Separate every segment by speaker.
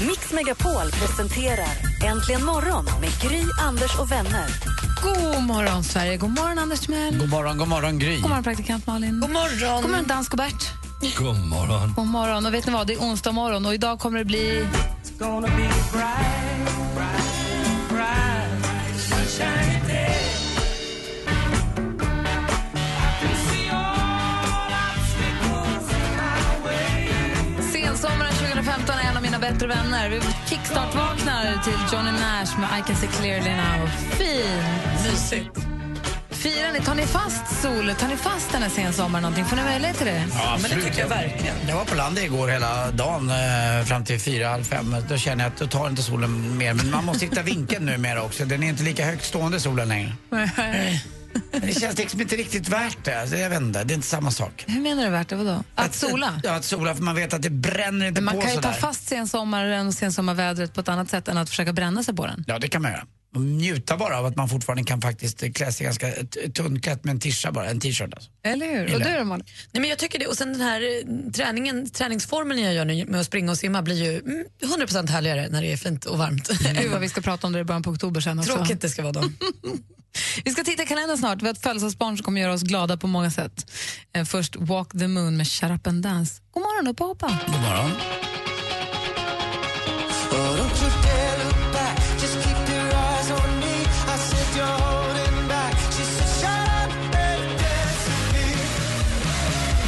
Speaker 1: Mix Megapol presenterar Äntligen morgon med Gry, Anders och vänner.
Speaker 2: God morgon, Sverige. God morgon, Anders Timell. God
Speaker 3: morgon, god morgon Gry.
Speaker 2: morgon, praktikant Malin. God morgon. God morgon, dansk och Bert.
Speaker 3: God morgon.
Speaker 2: God morgon. Och vet ni vad? Det är onsdag morgon och idag kommer det bli... Sensommaren 2015 är en av mina bättre vänner. Vi kickstart-vaknar till Johnny Nash med I can see clearly now. Fint! Mysigt. Firar ni? Tar ni fast sol? Tar ni fast den här sensommaren någonting? Får ni möjlighet till det?
Speaker 3: Ja, men det tycker jag verkligen. Jag var på landet igår hela dagen eh, fram till fyra, halv fem. Då känner jag att då tar inte solen mer. Men man måste hitta vinkeln numera också. Den är inte lika högt stående solen längre. Men Det känns liksom inte riktigt värt det. Alltså, Jag vet inte, det är inte samma sak.
Speaker 2: Hur menar du värt det? Vadå? Att sola?
Speaker 3: Ja, att sola, för man vet att det bränner inte
Speaker 2: Men man
Speaker 3: på
Speaker 2: kan ju ta
Speaker 3: sådär.
Speaker 2: fast sensommaren och sensommarvädret på ett annat sätt än att försöka bränna sig på den.
Speaker 3: Ja, det kan man göra. Och Njuta bara av att man fortfarande kan faktiskt eh, klä sig ganska t- tunnklätt med en t-shirt bara. En t-shirt alltså.
Speaker 2: Eller hur? Och
Speaker 3: Eller?
Speaker 2: du då, Malin?
Speaker 4: Nej, men jag tycker det. Och sen den här eh, träningen, träningsformen jag gör nu med att springa och simma blir ju mm, 100% härligare när det är fint och varmt.
Speaker 3: Mm,
Speaker 2: Gud vad vi ska prata om det i början på oktober sen också.
Speaker 4: Tråkigt det ska vara då.
Speaker 2: Vi ska titta i kalendern snart. Vi har ett födelsedagsbarn som kommer göra oss glada på många sätt. Eh, Först Walk the Moon med Shut Up and Dance. God morgon, upp och hoppa!
Speaker 3: God morgon.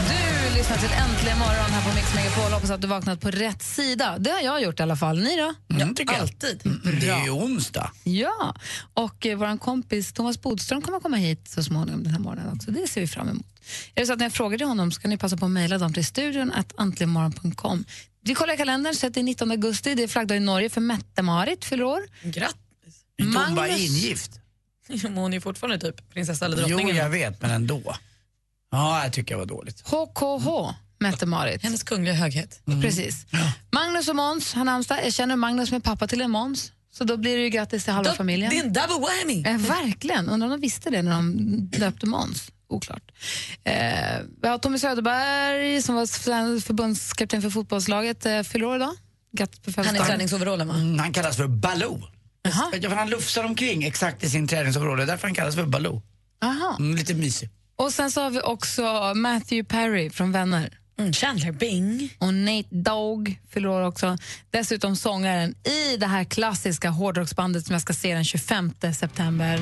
Speaker 2: Du lyssnar till Äntligen morgon här på Mix Megapol. Hoppas att du vaknat på rätt sida. Det har jag gjort i alla fall. Ni då?
Speaker 3: Mm, tycker jag. Alltid. Det är ju onsdag.
Speaker 2: Ja. Och eh, vår kompis Thomas Bodström kommer komma hit så småningom den här morgonen också. Det ser vi fram emot. Är det så att när jag frågade honom ska ni passa på att mejla dem till studion att antligenmorgon.com. Vi kollar i kalendern, så att det är 19 augusti. Det är flaggdag i Norge för Mette-Marit fyller år.
Speaker 4: Grattis.
Speaker 3: Hon bara
Speaker 2: Magnus-
Speaker 3: är ingift.
Speaker 4: Men Hon är fortfarande typ prinsessa eller
Speaker 3: Jo,
Speaker 4: drottningen.
Speaker 3: jag vet, men ändå. Ja, jag tycker jag var dåligt.
Speaker 2: HKH, Mette-Marit.
Speaker 4: Hennes kungliga höghet.
Speaker 3: Mm.
Speaker 2: Precis. Magnus och Måns har namnsdag. Jag känner Magnus som är pappa till en Måns. Så då blir det ju grattis till halva
Speaker 4: Då-
Speaker 2: familjen.
Speaker 4: Det är en double whammy.
Speaker 2: Eh, verkligen. Undrar om de visste det när de döpte Måns. Oklart. Eh, vi har Tommy Söderberg som var sven- förbundskapten för fotbollslaget. Eh, fyller år idag. Grattis på
Speaker 4: Han är i
Speaker 2: födelsedagen.
Speaker 4: träningsoverallen va?
Speaker 3: Mm, han kallas för Baloo.
Speaker 2: Jaha.
Speaker 3: Ja, för han lufsar omkring exakt i sin träningsområde. Därför han kallas för Baloo.
Speaker 2: Aha.
Speaker 3: Mm, lite mysig.
Speaker 2: Och sen så har vi också Matthew Perry från Vänner.
Speaker 4: Mm. Chandler Bing.
Speaker 2: Och Nate Dogg fyller år också. Dessutom sångaren i det här klassiska hårdrocksbandet som jag ska se den 25 september.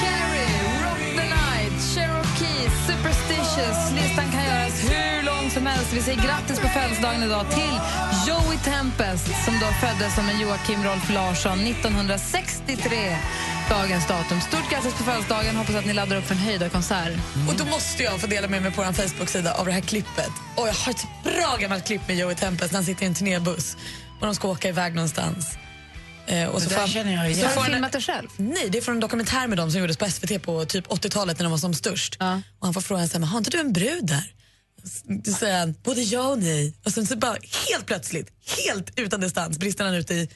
Speaker 2: Carrie, Rock the Night, Cherokee, Superstitious. Listan kan göras hur lång som helst. Vi säger grattis på födelsedagen idag till Joey Tempest som då föddes som en Joakim Rolf Larsson 1963. Dagens datum. Stort grattis på födelsedagen. Hoppas att ni laddar upp för en höjdarkonsert.
Speaker 4: Och då måste jag få dela med mig på vår Facebook-sida av det här klippet. Och jag har ett bra gammalt klipp med Joey Tempest när han sitter i en turnébuss och de ska åka iväg någonstans. Eh, och så
Speaker 3: där
Speaker 4: får han-
Speaker 3: känner jag igen.
Speaker 4: så
Speaker 2: Har
Speaker 4: får
Speaker 2: du
Speaker 4: han-
Speaker 2: filmat dig själv?
Speaker 4: Nej, det är från en dokumentär med dem som gjordes på SVT på typ 80-talet när de var som störst.
Speaker 2: Ja.
Speaker 4: Och han får frågan så här, "Men har inte du en brud där? Då säger han, både ja och nej. Och sen så bara helt plötsligt, helt utan distans, brister han ut i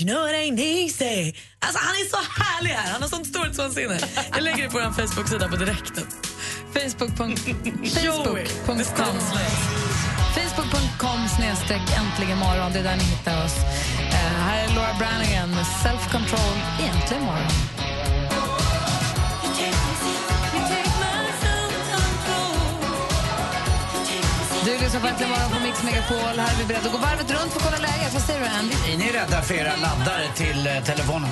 Speaker 4: You know it ain't easy. Alltså han är så härlig här, han har sånt storhetsvansinne. Jag lägger det på vår Facebook-sida på direkten.
Speaker 2: Facebook.com
Speaker 4: Joey,
Speaker 2: Facebook.com
Speaker 4: distanslös.
Speaker 2: Facebook.com snedstreck äntligen morgon. Det är där ni hittar oss. Eh, här är Laura Branigan med Self Control Äntligen morgon. Du lyssnar på Äntligen morgon på Mix Megapol. Här är vi beredda att gå varvet runt för att kolla läget. Vad säger du, Andy?
Speaker 3: Är ni rädda för era laddare till eh, telefonen?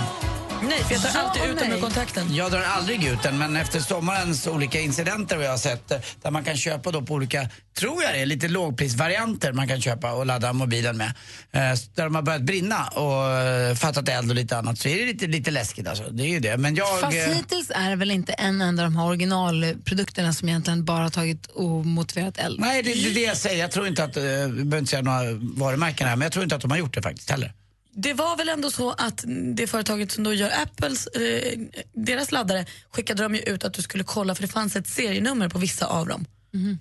Speaker 4: Nej, för jag tar
Speaker 2: Ja
Speaker 4: alltid
Speaker 2: och
Speaker 4: ut
Speaker 2: nej.
Speaker 4: dem ur kontakten.
Speaker 3: Jag drar aldrig ut den, men efter sommarens olika incidenter vi har sett eh, där man kan köpa då på olika, tror jag det är, lite lågprisvarianter man kan köpa och ladda mobilen med. Eh, s- Där de har börjat brinna och eh, fattat eld och lite annat så är det lite, lite läskigt alltså. Det är ju det. Men jag...
Speaker 2: Fast
Speaker 3: eh,
Speaker 2: hittills är det väl inte en enda av de här originalprodukterna som egentligen bara har tagit omotiverat eld.
Speaker 3: Nej, det är det, är det jag säger. Jag tror inte att, eh, vi behöver inte säga några varumärken här, men jag tror inte att de har gjort det faktiskt heller.
Speaker 4: Det var väl ändå så att det företaget som då gör Apples, eh, deras laddare, skickade de ju ut att du skulle kolla för det fanns ett serienummer på vissa av dem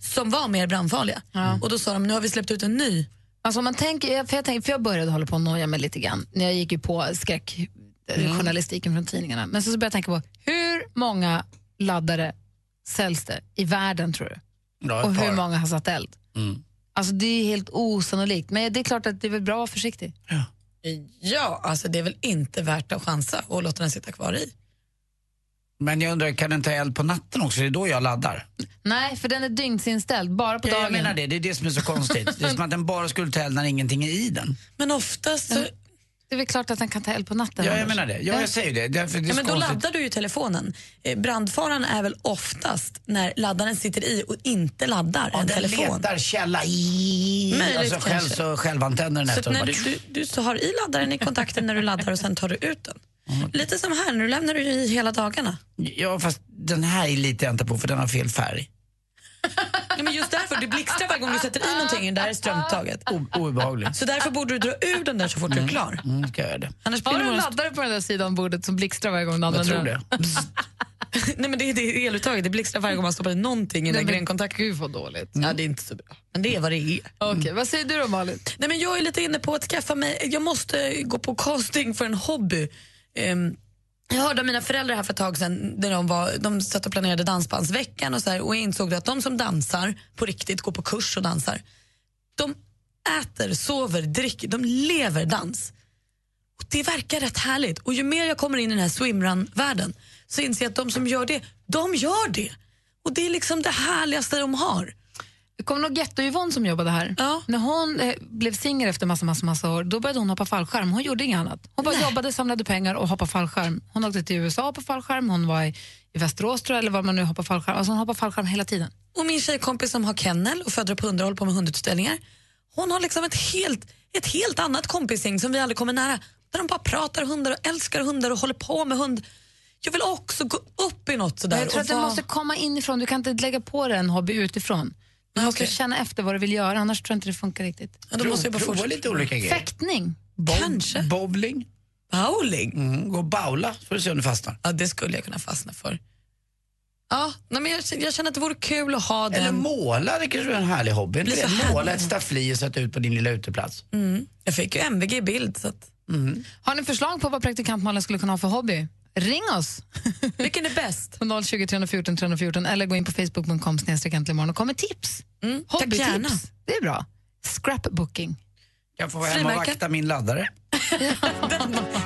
Speaker 4: som var mer brandfarliga. Och då sa de, nu har vi släppt ut en ny.
Speaker 2: Alltså om man tänker, för, jag tänker, för jag började hålla på och noja mig lite grann när jag gick ju på skräckjournalistiken från tidningarna. Men så, så började jag tänka på hur många laddare säljs det i världen tror du?
Speaker 3: Ja, ett
Speaker 2: Och hur
Speaker 3: par. Mm.
Speaker 2: många har satt eld? Alltså det är ju helt osannolikt. Men det är klart att det är väl bra att vara försiktig.
Speaker 4: Ja, alltså det är väl inte värt att chansa och låta den sitta kvar i.
Speaker 3: Men jag undrar, kan den ta eld på natten också? Det är då jag laddar.
Speaker 2: Nej, för den är dygnsinställd, bara på
Speaker 3: Ja,
Speaker 2: dagen.
Speaker 3: jag menar det, det är det som är så konstigt. Det är som att den bara skulle ta eld när ingenting är i den.
Speaker 4: Men oftast så,
Speaker 2: Det är väl klart att den kan ta eld på natten.
Speaker 3: Ja, jag
Speaker 2: Anders.
Speaker 3: menar det. Ja, jag säger det. Därför det är
Speaker 4: ja,
Speaker 3: så
Speaker 4: men då
Speaker 3: konstigt.
Speaker 4: laddar du ju telefonen. Eh, Brandfaran är väl oftast när laddaren sitter i och inte laddar
Speaker 3: Ja,
Speaker 4: en
Speaker 3: den
Speaker 4: telefon.
Speaker 3: letar källa. I.
Speaker 4: Möjligt
Speaker 3: Alltså själv
Speaker 4: kanske.
Speaker 3: så självantänder den
Speaker 4: Så att
Speaker 3: efteråt.
Speaker 4: när du, du, du så har i laddaren i kontakten när du laddar och sen tar du ut den. Lite som här, nu lämnar du ju i hela dagarna.
Speaker 3: Ja, fast den här litar jag inte på för den har fel färg.
Speaker 4: Ja, men just därför, det blixtrar varje gång du sätter i någonting i det där strömtaget.
Speaker 3: O- obehagligt.
Speaker 4: Så därför borde du dra ur den där så fort du är klar.
Speaker 3: Mm, ska jag göra det.
Speaker 4: Annars blir
Speaker 2: Har
Speaker 4: det
Speaker 2: du en
Speaker 4: några...
Speaker 2: laddare på den där sidan bordet som blixtrar varje gång du
Speaker 3: Jag
Speaker 2: använder
Speaker 3: tror
Speaker 2: den?
Speaker 3: det.
Speaker 4: Nej men det är det är eluttaget, det blixtrar varje gång man stoppar i någonting i
Speaker 2: Nej,
Speaker 4: den
Speaker 2: men
Speaker 4: grenkontakten.
Speaker 2: gud vad dåligt.
Speaker 4: Ja, det är inte så bra. Men det är vad det är.
Speaker 2: Okej, vad säger du då Malin?
Speaker 4: Nej, men jag är lite inne på att skaffa mig, jag måste gå på casting för en hobby. Ehm, jag hörde av mina föräldrar här för ett tag sedan, när de, var, de satt och planerade Dansbandsveckan och, så här, och insåg då att de som dansar på riktigt, går på kurs och dansar, de äter, sover, dricker, de lever dans. Och det verkar rätt härligt. Och ju mer jag kommer in i den här swimrun-världen så inser jag att de som gör det, de gör det. Och det är liksom det härligaste de har.
Speaker 2: Det kom nog Getto-Yvonne som jobbade här.
Speaker 4: Ja.
Speaker 2: När hon eh, blev singel efter massa, massa, massa år, då började hon hoppa fallskärm. Hon gjorde inget annat. Hon bara jobbade, samlade pengar och hoppade fallskärm. Hon åkte till USA på fallskärm, hon var i, i Västerås tror jag, eller var man nu hoppar fallskärm. Alltså hon hoppar fallskärm hela tiden.
Speaker 4: Och min tjejkompis som har kennel och föder upp hundar och håller på med hundutställningar. Hon har liksom ett helt, ett helt annat kompisgäng som vi aldrig kommer nära. Där de bara pratar hundar och älskar hundar och håller på med hund. Jag vill också gå upp i något sådär.
Speaker 2: Men jag tror
Speaker 4: och
Speaker 2: att det
Speaker 4: vara-
Speaker 2: måste komma inifrån, du kan inte lägga på dig en hobby utifrån. Du måste
Speaker 4: okej.
Speaker 2: känna efter vad du vill göra, annars tror jag inte det funkar riktigt.
Speaker 4: ja, då måste jag bara
Speaker 3: Prova
Speaker 4: fortsätta.
Speaker 3: lite olika grejer.
Speaker 2: Fäktning.
Speaker 3: Bob-
Speaker 4: Kanske.
Speaker 3: Bowling.
Speaker 4: Bowling?
Speaker 3: Mm, gå och baula så får du se om du fastnar.
Speaker 4: Ja, det skulle jag kunna fastna för. Ja, nej, men jag, känner- jag känner att det vore kul att ha
Speaker 3: Eller
Speaker 4: den.
Speaker 3: måla, det kanske är en härlig hobby. Inte
Speaker 4: Blir så
Speaker 3: det?
Speaker 4: härligt.
Speaker 3: Måla ett staffli och sätta ut på din lilla uteplats.
Speaker 4: Jag fick ju MVG i bild. Så att...
Speaker 2: Har ni förslag på vad praktikant Malin skulle kunna ha för hobby? Ring oss!
Speaker 4: Vilken är bäst?
Speaker 2: på 020 314 314 eller gå in på facebook.com snedstreck äntligen morgon och kom med tips.
Speaker 4: Mm, tack gärna.
Speaker 2: Hobbytips. Det är bra. Scrapbooking.
Speaker 3: Jag får vara hemma och
Speaker 4: Frimärken.
Speaker 3: vakta min laddare.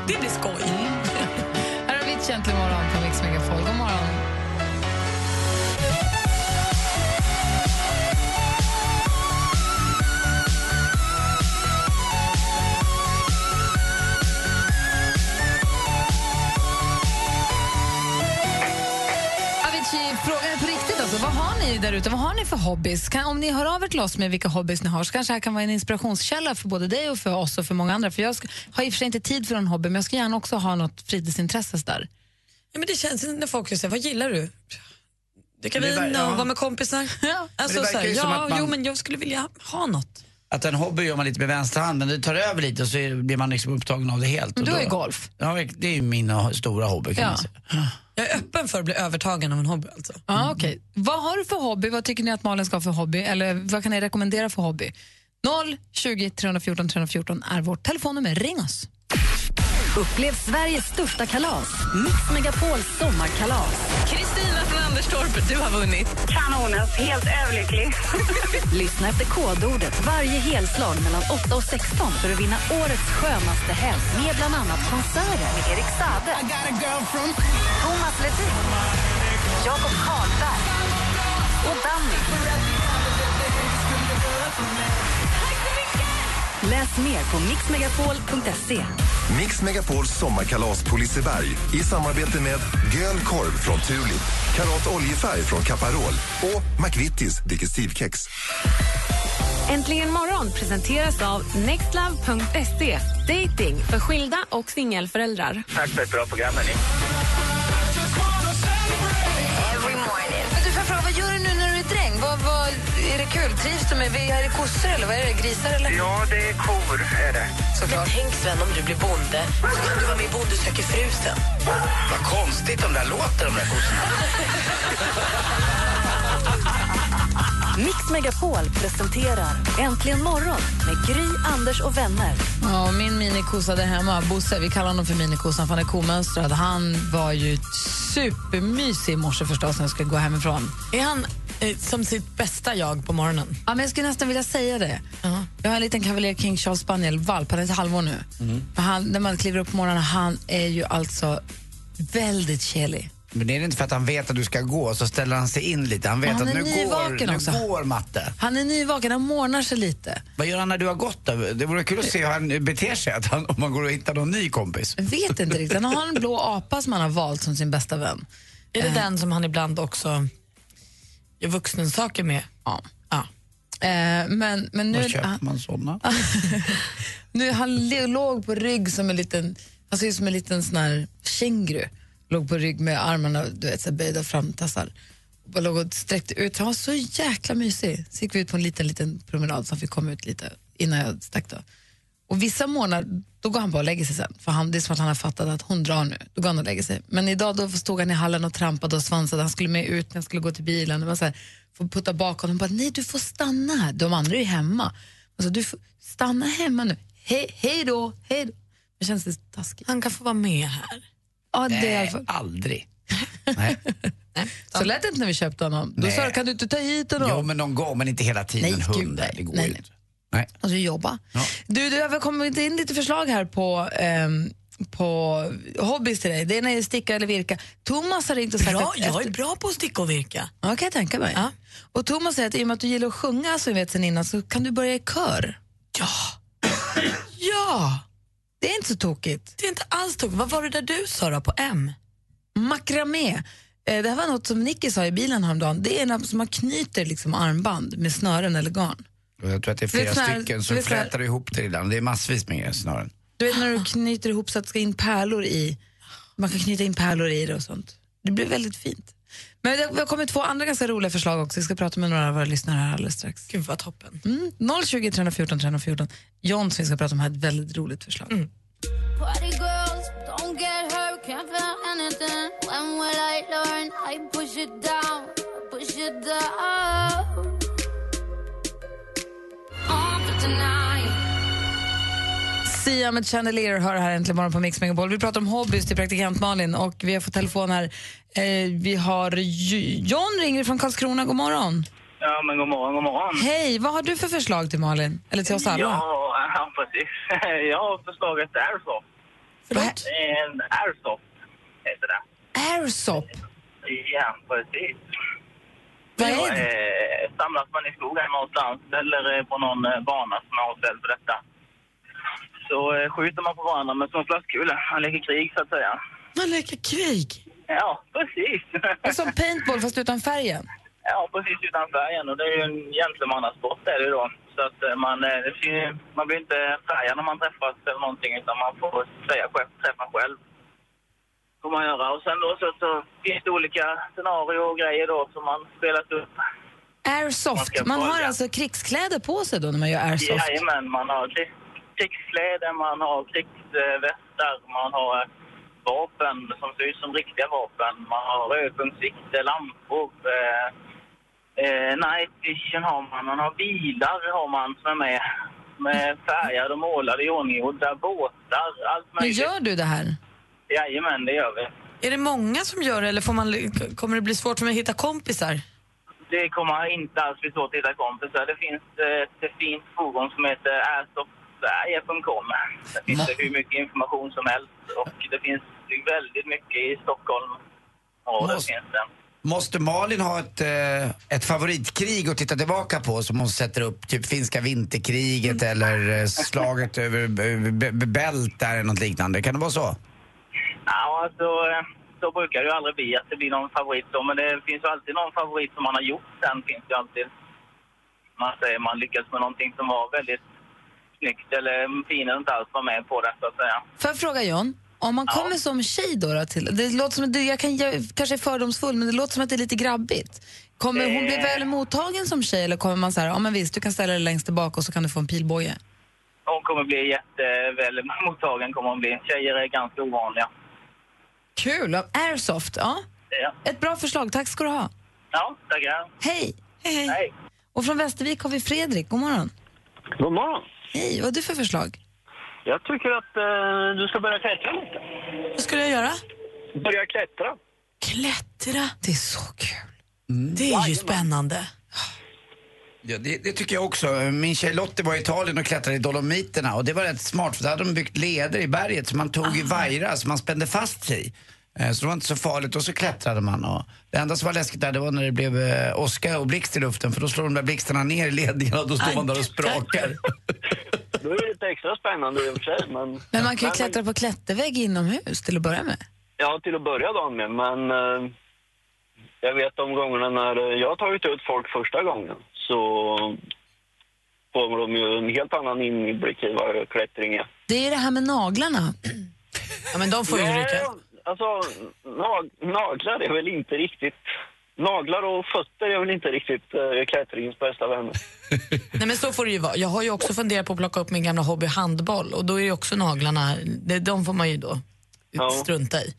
Speaker 4: Det blir skoj.
Speaker 2: Här har vi ett äntligen morgon på Mix Megapol. God morgon. Avicii, Frågan är på riktigt. Alltså. Vad har ni där ute? Vad har ni för hobbies? Kan, om ni hör av er till oss med vilka hobbies ni har så kanske det här kan vara en inspirationskälla för både dig och för oss och för många andra. För Jag ska, har i och för sig inte tid för en hobby men jag ska gärna också ha något fritidsintresse så där.
Speaker 4: Ja, men det känns när folk säger, vad gillar du? Det kan
Speaker 3: Men
Speaker 4: vi
Speaker 3: det ver- ja.
Speaker 4: nog vara med kompisar. Alltså,
Speaker 3: Men det
Speaker 4: så här,
Speaker 3: verkar ju som
Speaker 4: ja,
Speaker 3: att man-
Speaker 4: Jo, men jag skulle vilja ha något.
Speaker 3: Att en hobby gör man lite med vänster hand men det tar över lite och så är- blir man liksom upptagen av det helt.
Speaker 2: Men
Speaker 3: och
Speaker 2: du
Speaker 3: då-
Speaker 2: har ju golf.
Speaker 3: Ja, det är ju min ho- stora hobby kan
Speaker 2: Ja.
Speaker 3: man säga.
Speaker 4: Jag är öppen för att bli övertagen av en hobby. Alltså.
Speaker 2: Ja, okej. Vad har du för hobby? Vad tycker ni att Malin ska ha för hobby? Eller vad kan ni rekommendera för hobby? 0 20 314 314 är vårt telefonnummer. Ring oss.
Speaker 1: Upplev Sveriges största kalas. Mix Megapols sommarkalas.
Speaker 5: Kristina från Anderstorp, du har vunnit.
Speaker 6: Kanonen, helt överlycklig.
Speaker 1: Lyssna efter kodordet varje helslag mellan 8 och 16 för att vinna årets skönaste helg med bland annat konserter med Erik Saade, Thomas Ledin, Jakob Karlberg och Danny. Läs mer på mixmegapol.se.
Speaker 7: Mix Megapols sommarkalas på Liseberg i samarbete med Göl korv från Tulip, Karat oljefärg från Caparol och McVittys digestivkex.
Speaker 8: Äntligen morgon presenteras av nextlove.se. Dating för skilda och singelföräldrar.
Speaker 9: Tack för ett bra program, hörni.
Speaker 10: Men du, får jag fråga, vad gör du nu när du är dräng? Vad, vad, är det kul? Trivs du med vi- är det kossor eller vad är det? Grisar eller?
Speaker 9: Ja, det är kor, är det.
Speaker 10: Såklart. Men tänk Sven om du blir bonde. Ska du vara med i Bonde söker frusen?
Speaker 3: Vad konstigt de där låter, de där kossorna.
Speaker 1: Mix Megapol presenterar Äntligen morgon med Gry, Anders och vänner.
Speaker 4: Ja, och min minikossa där hemma, Bosse, vi kallar honom för minikossan för han är komönstrad. Han var ju supermysig i morse förstås när jag skulle gå hemifrån.
Speaker 11: Är han eh, som sitt bästa jag på morgonen?
Speaker 4: Ja, men jag skulle nästan vilja säga det. Jag har en liten Cavalier King Charles Spaniel, valp, han är ett halvår nu. Men Han, när man kliver upp på morgonen, han är ju alltså väldigt kelig.
Speaker 3: Men det är inte för att han vet att du ska gå, så ställer han sig in lite. Han vet
Speaker 4: Han
Speaker 3: att
Speaker 4: är
Speaker 3: nu går,
Speaker 4: nyvaken också.
Speaker 3: nu går matte.
Speaker 4: Han är nyvaken, han mornar sig lite.
Speaker 3: Vad gör han när du har gått då? Det vore kul att se hur han beter sig, att han, om han går och hittar någon ny kompis.
Speaker 4: Jag vet inte riktigt. Han har en blå apa som han har valt som sin bästa vän. Eh.
Speaker 11: Är det den som han ibland också gör vuxensaker med?
Speaker 4: Ja. Eh, men, men nu...
Speaker 3: Var köper man sådana?
Speaker 4: nu han le- låg på rygg som en liten, han ser ut som en liten sån här känguru. Låg på rygg med armarna du vet, så här böjda framtassar. Och bara låg och sträckte ut. Han var så jäkla mysig. Så gick vi ut på en liten, liten promenad så han fick komma ut lite innan jag stack då. Och vissa månader, då går han bara och lägger sig sen. För han, det är som att han har fattat att hon drar nu. Då går han och lägger sig. Men idag då stod han i hallen och trampade och svansade. Han skulle med ut när jag skulle gå till bilen. Det var så här, får putta bak honom. Bara, nej, du får stanna här. De andra är ju hemma. Alltså, du får stanna hemma nu. Hej, hej då, hej då. Det känns lite taskigt.
Speaker 11: Han kan få vara med här.
Speaker 4: Ja, det är i alla
Speaker 3: Nej,
Speaker 4: fall.
Speaker 3: aldrig.
Speaker 4: Så lät det inte när vi köpte honom. Då
Speaker 3: Nej.
Speaker 4: sa jag, kan du inte ta hit honom?
Speaker 3: Jo, men någon gång, men inte hela tiden.
Speaker 4: Nej, gud,
Speaker 3: Hundar,
Speaker 4: nej.
Speaker 3: det går
Speaker 4: Nej,
Speaker 3: ju
Speaker 4: nej.
Speaker 3: inte. Nej.
Speaker 4: Alltså jobba. Du, du har kommit in lite förslag här på, ehm, på hobbys till dig. Det ena är sticka eller virka. Thomas har ringt och sagt
Speaker 11: Bra,
Speaker 4: att...
Speaker 11: jag är bra på att sticka och virka.
Speaker 4: Ja, kan jag tänka mig. Och Thomas säger att i och med att du gillar att sjunga som vi vet sen innan så kan du börja i kör.
Speaker 11: Ja.
Speaker 4: ja! Det är inte så tokigt.
Speaker 11: Det är inte alls tokigt. Vad var det där du sa då på M?
Speaker 4: Makramé. Eh, Det här var något som Nicky sa i bilen häromdagen. Det är när som man knyter liksom armband med snören eller garn.
Speaker 3: Och jag tror att det är
Speaker 4: Det är
Speaker 3: flera
Speaker 4: sån här-
Speaker 3: stycken, så
Speaker 4: det är sån här-
Speaker 3: flätar du ihop det ibland. Det är massvis med grejer, snören.
Speaker 4: Du vet när du knyter ihop så att det ska in pärlor i. Man kan knyta in pärlor i det och sånt. Det blir väldigt fint. Men det har kommit två andra ganska roliga förslag också. Vi ska prata med några av våra lyssnare här alldeles strax.
Speaker 11: Gud vad toppen.
Speaker 4: Mm. 020 314 314. John som vi ska prata om här, ett väldigt roligt förslag.
Speaker 11: Mm.
Speaker 2: Party girls, don't get hurt, can't feel anything. When will I learn? I push it down, push it down. On for tonight.
Speaker 4: Sia med Chandelier hör här äntligen morgon på Mix Megapol. Vi pratar om hobbys till praktikant Malin och vi har fått telefon här. Eh, vi har J- John ringer från Karlskrona. God morgon.
Speaker 9: Ja, men god morgon, god morgon.
Speaker 4: Hej, vad har du för förslag till Malin? Eller till oss alla?
Speaker 9: Ja, ja, precis. Jag har förslaget Airsoft.
Speaker 4: Förlåt?
Speaker 9: En Airsoft heter det.
Speaker 4: Airsop.
Speaker 9: Ja, precis.
Speaker 4: Vad
Speaker 9: Ja,
Speaker 4: är det?
Speaker 9: eh, samlas man i skogen någonstans eller eh, på någon eh, bana som är avställd för detta så eh, skjuter man på varandra med små plastkulor. Man leker krig, så att säga.
Speaker 11: Man leker krig.
Speaker 9: Ja, precis.
Speaker 4: Det är Som paintball fast utan färgen.
Speaker 9: Ja, precis utan färgen. Och det är ju en gentlemannasport är det ju då. Så att eh, man, eh, det finns, ju- man blir inte färgad när man träffas eller någonting utan man får säga själv, träffa själv. Får man göra. Och sen då så, så finns det olika scenarier och grejer då som man spelat upp. Man
Speaker 4: Airsoft.
Speaker 9: ska
Speaker 4: Man har
Speaker 9: följa.
Speaker 4: alltså krigskläder på sig då när man gör airsoft.
Speaker 9: Jajamän, man har krig, krigskläder, man har krigsvästar, man har eh, vapen som ser ut som riktiga vapen. Man har rödpunktssikte, lampor, eh, eh, night vision har man. Man har bilar har man som är med. Med färgade och målade iordninggjorda båtar, allt
Speaker 4: Men
Speaker 9: möjligt.
Speaker 4: gör du det här?
Speaker 9: Jajamän, det gör vi.
Speaker 11: Är det många som gör det eller får man, kommer det bli svårt för mig att hitta kompisar?
Speaker 9: Det kommer inte alls bli svårt att hitta kompisar. Det finns eh, ett fint forum som heter airsoft.sverige.com. Där finns det hur mycket information som helst och det finns väldigt mycket i Stockholm. Ja, det
Speaker 3: Måste-
Speaker 9: finns det.
Speaker 3: Måste Malin ha ett, eh, ett favoritkrig att titta tillbaka på som hon sätter upp? Typ finska vinterkriget
Speaker 4: Mm.
Speaker 3: eller eh, slaget över b- b- b- bält där eller något liknande. Kan det vara så?
Speaker 12: Ja, alltså, eh, så brukar det ju aldrig bli att det blir någon favorit så, men det finns ju alltid någon favorit som man har gjort. Sen finns det ju alltid, man säger, man lyckas med någonting som var väldigt snyggt eller mm, finen inte alls var med på det så att säga.
Speaker 2: Får jag fråga John? Om man kommer som tjej då, då till, det låter som, det, jag, kan, jag kanske är fördomsfull, men det låter som att det är lite grabbigt. Kommer hon bli
Speaker 12: Eh.
Speaker 2: väl mottagen som tjej eller kommer man så här, ja men visst, du kan ställa dig längst tillbaka och så kan du få en pilbåge?
Speaker 12: Hon kommer bli jätteväl mottagen kommer hon bli. Tjejer är ganska ovanliga.
Speaker 2: Kul! ja, Airsoft, ja.
Speaker 12: Ja.
Speaker 2: Ett bra förslag, tack ska du ha.
Speaker 12: Ja, tackar.
Speaker 2: Hej! Hej, hej. Och från Västervik har vi Fredrik, god morgon.
Speaker 9: God morgon.
Speaker 2: Hej, vad har du för förslag?
Speaker 9: Jag tycker att eh, du ska börja klättra lite.
Speaker 4: Vad skulle jag göra?
Speaker 9: Börja klättra.
Speaker 4: Klättra. Det är så kul.
Speaker 2: Mm.
Speaker 4: Det är ju spännande.
Speaker 3: Ja, det, det tycker jag också. Min tjej Lottie var i Italien och klättrade i Dolomiterna och det var rätt smart för där hade de byggt leder i berget som man tog
Speaker 2: Ah.
Speaker 3: i vajrar som man spände fast sig i. Eh, Så det var inte så farligt och så klättrade man. Och det enda som var läskigt där det var när det blev eh, åska och blixt i luften för då slår de där blixtarna ner i ledningarna och då står man där och sprakar.
Speaker 9: Då är det lite extra spännande i och för sig. Men,
Speaker 2: Men man kan ju
Speaker 9: Nej,
Speaker 2: klättra på klättervägg inomhus till att börja med.
Speaker 9: Ja, till att börja dagen med, men eh, jag vet de gångerna när eh, jag har tagit ut folk första gången så får de ju en helt annan inblick i vad klättring är.
Speaker 2: Det är ju det här med naglarna.
Speaker 4: Ja, men de får ju
Speaker 9: Nej,
Speaker 4: ryka.
Speaker 9: Alltså, nag- naglar är väl inte riktigt... Naglar och fötter är väl inte riktigt eh, klättringens bästa vänner.
Speaker 4: Nej, men så får det ju vara. Jag har ju också funderat på att plocka upp min gamla hobby handboll och då är ju också naglarna, det, de får man ju då
Speaker 9: Ja.
Speaker 4: strunta i.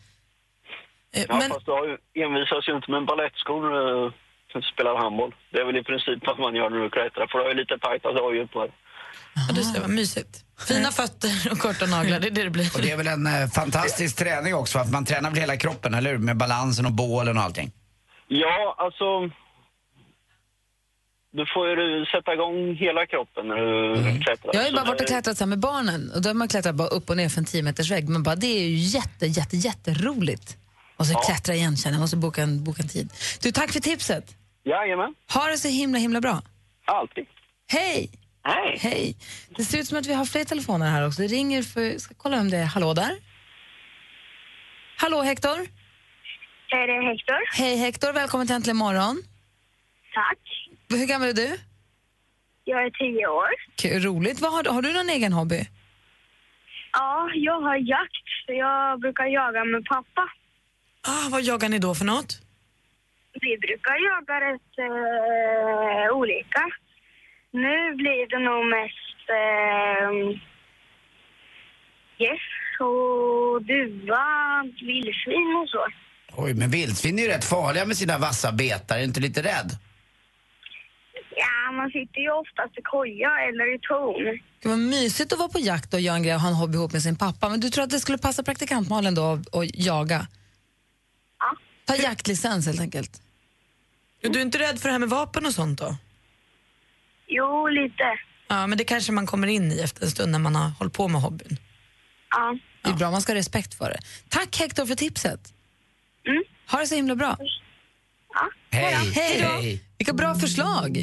Speaker 4: Eh,
Speaker 9: Ja,
Speaker 4: men-
Speaker 9: fast du har ju- envisas ju inte med en balettskor eh, när du spelar handboll. Det är väl i princip vad man gör när du klättrar, för du har ju lite tajta dojor på dig.
Speaker 4: Ja, det ser vad mysigt. Fina fötter och korta naglar, det är det det blir.
Speaker 3: Och det är väl en eh, fantastisk träning också, att man tränar väl hela kroppen, eller hur? Med balansen och bålen och allting.
Speaker 9: Ja, alltså... Du får ju sätta igång hela kroppen när du klättrar.
Speaker 2: Mm. Jag har ju
Speaker 9: Så
Speaker 2: bara varit
Speaker 9: det-
Speaker 2: och klättrat så här med barnen och då har man klättrat bara upp och ner för en 10 meters vägg. Men bara det är ju jätte, jätte, jätteroligt. Och så
Speaker 9: Ja.
Speaker 2: klättra igen känner jag, måste boka en, boka en tid. Du, tack för tipset.
Speaker 9: Jajamän,
Speaker 2: Ha det så himla, himla bra.
Speaker 9: alltid.
Speaker 2: Hej!
Speaker 9: Hej!
Speaker 2: Hej! Det ser ut som att vi har fler telefoner här också. Det ringer för, ska kolla om det är, hallå där? Hallå Hector?
Speaker 1: Hej, det är Hector.
Speaker 2: Hej Hector, välkommen till Äntligen morgon.
Speaker 1: Tack.
Speaker 2: Hur gammal är du?
Speaker 1: Jag är tio år.
Speaker 2: Kul, roligt. Vad har, du- har du någon egen hobby?
Speaker 1: Ja, jag har jakt. så Jag brukar jaga med pappa.
Speaker 4: Ah, vad jagar ni då för något?
Speaker 1: Vi brukar jaga rätt eh, olika. Nu blir det nog mest eh, gäss och duva, vildsvin och så.
Speaker 3: Oj, men vildsvin är ju rätt farliga med sina vassa betar. Är du inte lite rädd?
Speaker 1: Ja, man sitter ju oftast i koja eller i torn.
Speaker 2: Det var mysigt att vara på jakt och göra en grej och ha en hobby ihop med sin pappa. Men du tror att det skulle passa praktikantmalen då att- att jaga?
Speaker 1: Ja.
Speaker 2: Ta jaktlicens helt enkelt.
Speaker 4: Du är inte rädd för det här med vapen och sånt då?
Speaker 1: Jo, lite.
Speaker 4: Ja, men det kanske man kommer in i efter en stund när man har hållit på med hobbyn.
Speaker 1: Ja.
Speaker 2: Det är bra, man ska ha respekt för det. Tack Hector för tipset.
Speaker 1: Mm.
Speaker 2: Ha det så himla bra.
Speaker 3: Hej!
Speaker 2: Hej då. Vilka bra förslag.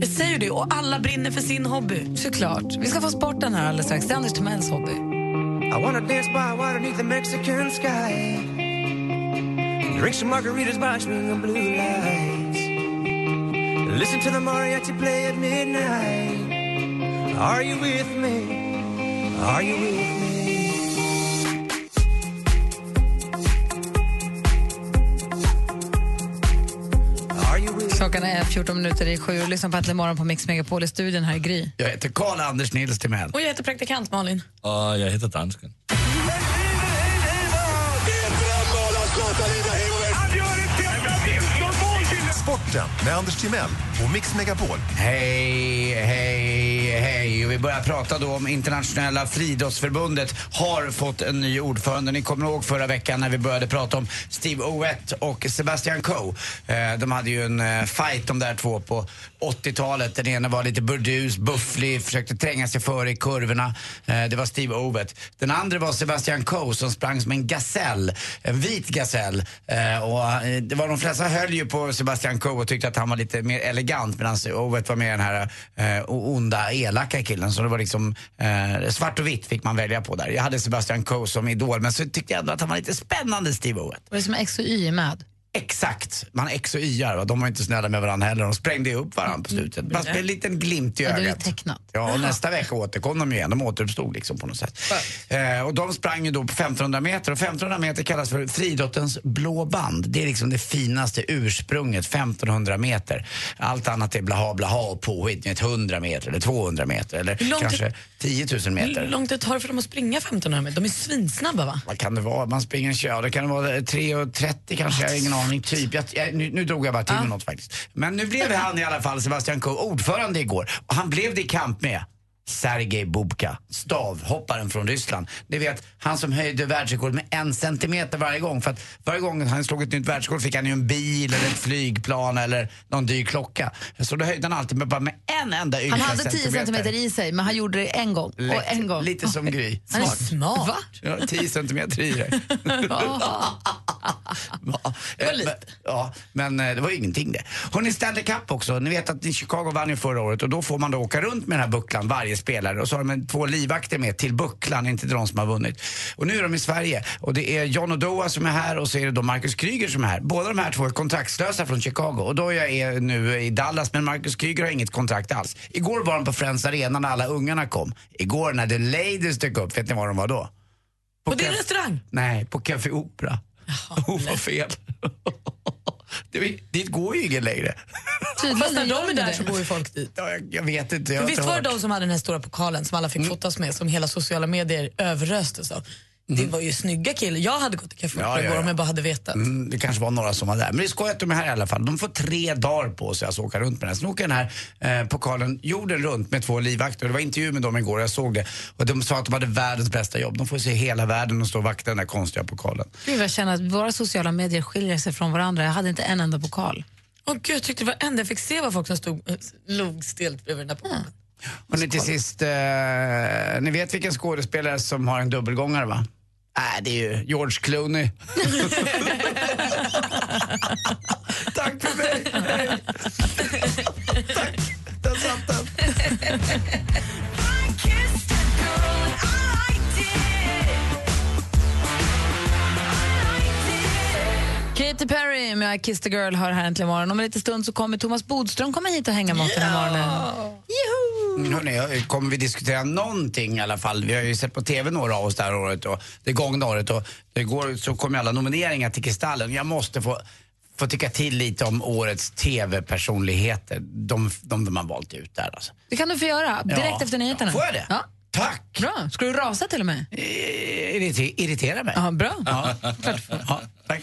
Speaker 4: Jag säger det, och alla brinner för sin hobby.
Speaker 2: Såklart. Vi ska få sporten här alldeles strax. Det är Anders Timells hobby.
Speaker 13: I wanna dance by water beneath the Mexican sky. Drink some margaritas by string of blue lights. Listen to the mariachi play at midnight. Are you with me? Are you with me?
Speaker 2: Klockan är 14 minuter i sju och lyssnar på Äntligen morgon på Mix Megapol i studion här i Gry.
Speaker 3: Jag heter Karl Anders Nils Timell.
Speaker 4: Och jag heter praktikant Malin.
Speaker 14: Och jag heter dansken.
Speaker 7: Sporten med Anders Timell på Mix Megapol.
Speaker 3: Hej, hej, hej. Och vi börjar prata då om Internationella friidrottsförbundet har fått en ny ordförande. Ni kommer ihåg förra veckan när vi började prata om Steve Owett och Sebastian Coe. Eh, De hade ju en eh, fight de där två på 80-talet. Den ena var lite burdus, bufflig, försökte tränga sig före i kurvorna. Eh, Det var Steve Owett. Den andra var Sebastian Coe som sprang som en gasell, en vit gasell. Eh, Och eh, det var de flesta höll ju på Sebastian Coe och tyckte att han var lite mer elegant medan Owett var mer den här eh, onda, elaka killen. Så det var liksom eh, svart och vitt fick man välja på där. Jag hade Sebastian Coe som idol men så tyckte jag ändå att han var lite spännande Steve Owett.
Speaker 2: Och det är som X och Y är med.
Speaker 3: Exakt, man X och Y va? de var inte snälla med varandra heller. De sprängde ju upp varandra på slutet. Fast med en liten glimt i
Speaker 2: Ja, det är ju
Speaker 3: ögat.
Speaker 2: tecknat.
Speaker 3: Ja, och nästa vecka återkom de ju igen. De återuppstod liksom på något sätt. Eh, och de sprang ju då på 1500 meter och 1500 meter kallas för friidrottens blå band. Det är liksom det finaste ursprunget, 1500 meter. Allt annat är blaha blaha och påhitt. Ni vet, 100 meter eller 200 meter eller
Speaker 4: Hur långt-
Speaker 3: kanske 10 000 meter.
Speaker 4: Hur långt det tar för dem att springa 1500 meter? De är svinsnabba va?
Speaker 3: Vad kan det vara? Man springer en kö. Det kan vara 3.30 kanske. Jag har ingen aning. Typ. Jag, jag, nu, nu drog jag bara till med något faktiskt. Men nu blev han i alla fall, Sebastian Coe, ordförande igår. Och han blev det i kamp med Sergej Bubka, stavhopparen från Ryssland. Ni vet, han som höjde världsrekord med en centimeter varje gång. För att varje gång han slog ett nytt världsrekord fick han ju en bil eller ett flygplan eller någon dyr klocka. Så då höjde han alltid med bara med en enda ynka
Speaker 2: Han hade 10 centimeter i sig, men han gjorde det en gång. Och
Speaker 3: Lätt.
Speaker 2: en gång.
Speaker 3: Lite som Gry.
Speaker 2: Han är smart. Va?
Speaker 3: Ja, 10 centimeter i dig. Ja, eh, men, ja, men eh, det var ju ingenting det. Hörrni, Stanley Cup också. Ni vet att i Chicago vann ju förra året och då får man då åka runt med den här bucklan, varje spelare. Och så har de en- två livvakter med till bucklan, inte till de som har vunnit. Och nu är de i Sverige och det är John Odoa som är här och så är det då Marcus Kryger som är här. Båda de här två är kontraktslösa från Chicago och då jag är nu i Dallas men Marcus Kryger har inget kontrakt alls. Igår var de på Friends Arena när alla ungarna kom. Igår när The Ladies dök upp, vet ni var de var då? På, din
Speaker 4: restaurang?
Speaker 3: Nej, på Café Opera. Oh, vad fel. Det, är- dit går ju ingen längre.
Speaker 4: Fast när de är där
Speaker 3: det.
Speaker 4: så går ju folk dit.
Speaker 3: Ja, jag, jag vet inte. Jag
Speaker 4: Men
Speaker 3: har Mm.
Speaker 4: visst
Speaker 3: inte
Speaker 4: var det
Speaker 3: hört.
Speaker 4: de som hade den här stora pokalen som alla fick fotas med som hela sociala medier överröstes av? Det var ju snygga killar. Jag hade gått till Café
Speaker 3: Mm. Ja,
Speaker 4: Opera
Speaker 3: ja,
Speaker 4: igår
Speaker 3: ja.
Speaker 4: om jag bara hade vetat.
Speaker 3: Mm, det kanske var några som var där. Men det är skoj att de är här i alla fall. De får tre dagar på sig att åka runt med den. Sen åker den här eh, pokalen jorden runt med två livvakter. Det var intervju med dem igår, jag såg det. Och de sa att de hade världens bästa jobb. De får se hela världen och stå och vakta den där konstiga pokalen.
Speaker 5: Gud, jag känner att våra sociala medier skiljer sig från varandra. Jag hade inte en enda pokal.
Speaker 4: Åh gud, jag tyckte det var enda jag fick se var folk som stod, eh, låg stelt bredvid den där pokalen.
Speaker 3: Och nu till sist, eh, ni vet vilken skådespelare som har en dubbelgångare va? Nej, det är ju George Clooney. Tack för mig! Där satt den.
Speaker 2: Katy Perry med I Kissed a Girl hör här äntligen morgon. Om en liten stund så kommer Thomas Bodström komma hit och hänga med oss den här morgonen.
Speaker 3: Mm, Hörrni, kommer vi diskutera någonting i alla fall? Vi har ju sett på TV några av oss det här året och det gångna året och igår så kom ju alla nomineringar till Kristallen. Jag måste få, få tycka till lite om årets TV-personligheter. De, de, de man valt ut där alltså.
Speaker 2: Det kan du få göra direkt
Speaker 3: Ja.
Speaker 2: efter nyheterna.
Speaker 3: Får jag det?
Speaker 2: Ja.
Speaker 3: Tack! Eh,
Speaker 2: Bra. Ska du rasa till och med?
Speaker 3: Irriter, irritera mig.
Speaker 2: Ja, bra.
Speaker 3: Ja. Ja, tack.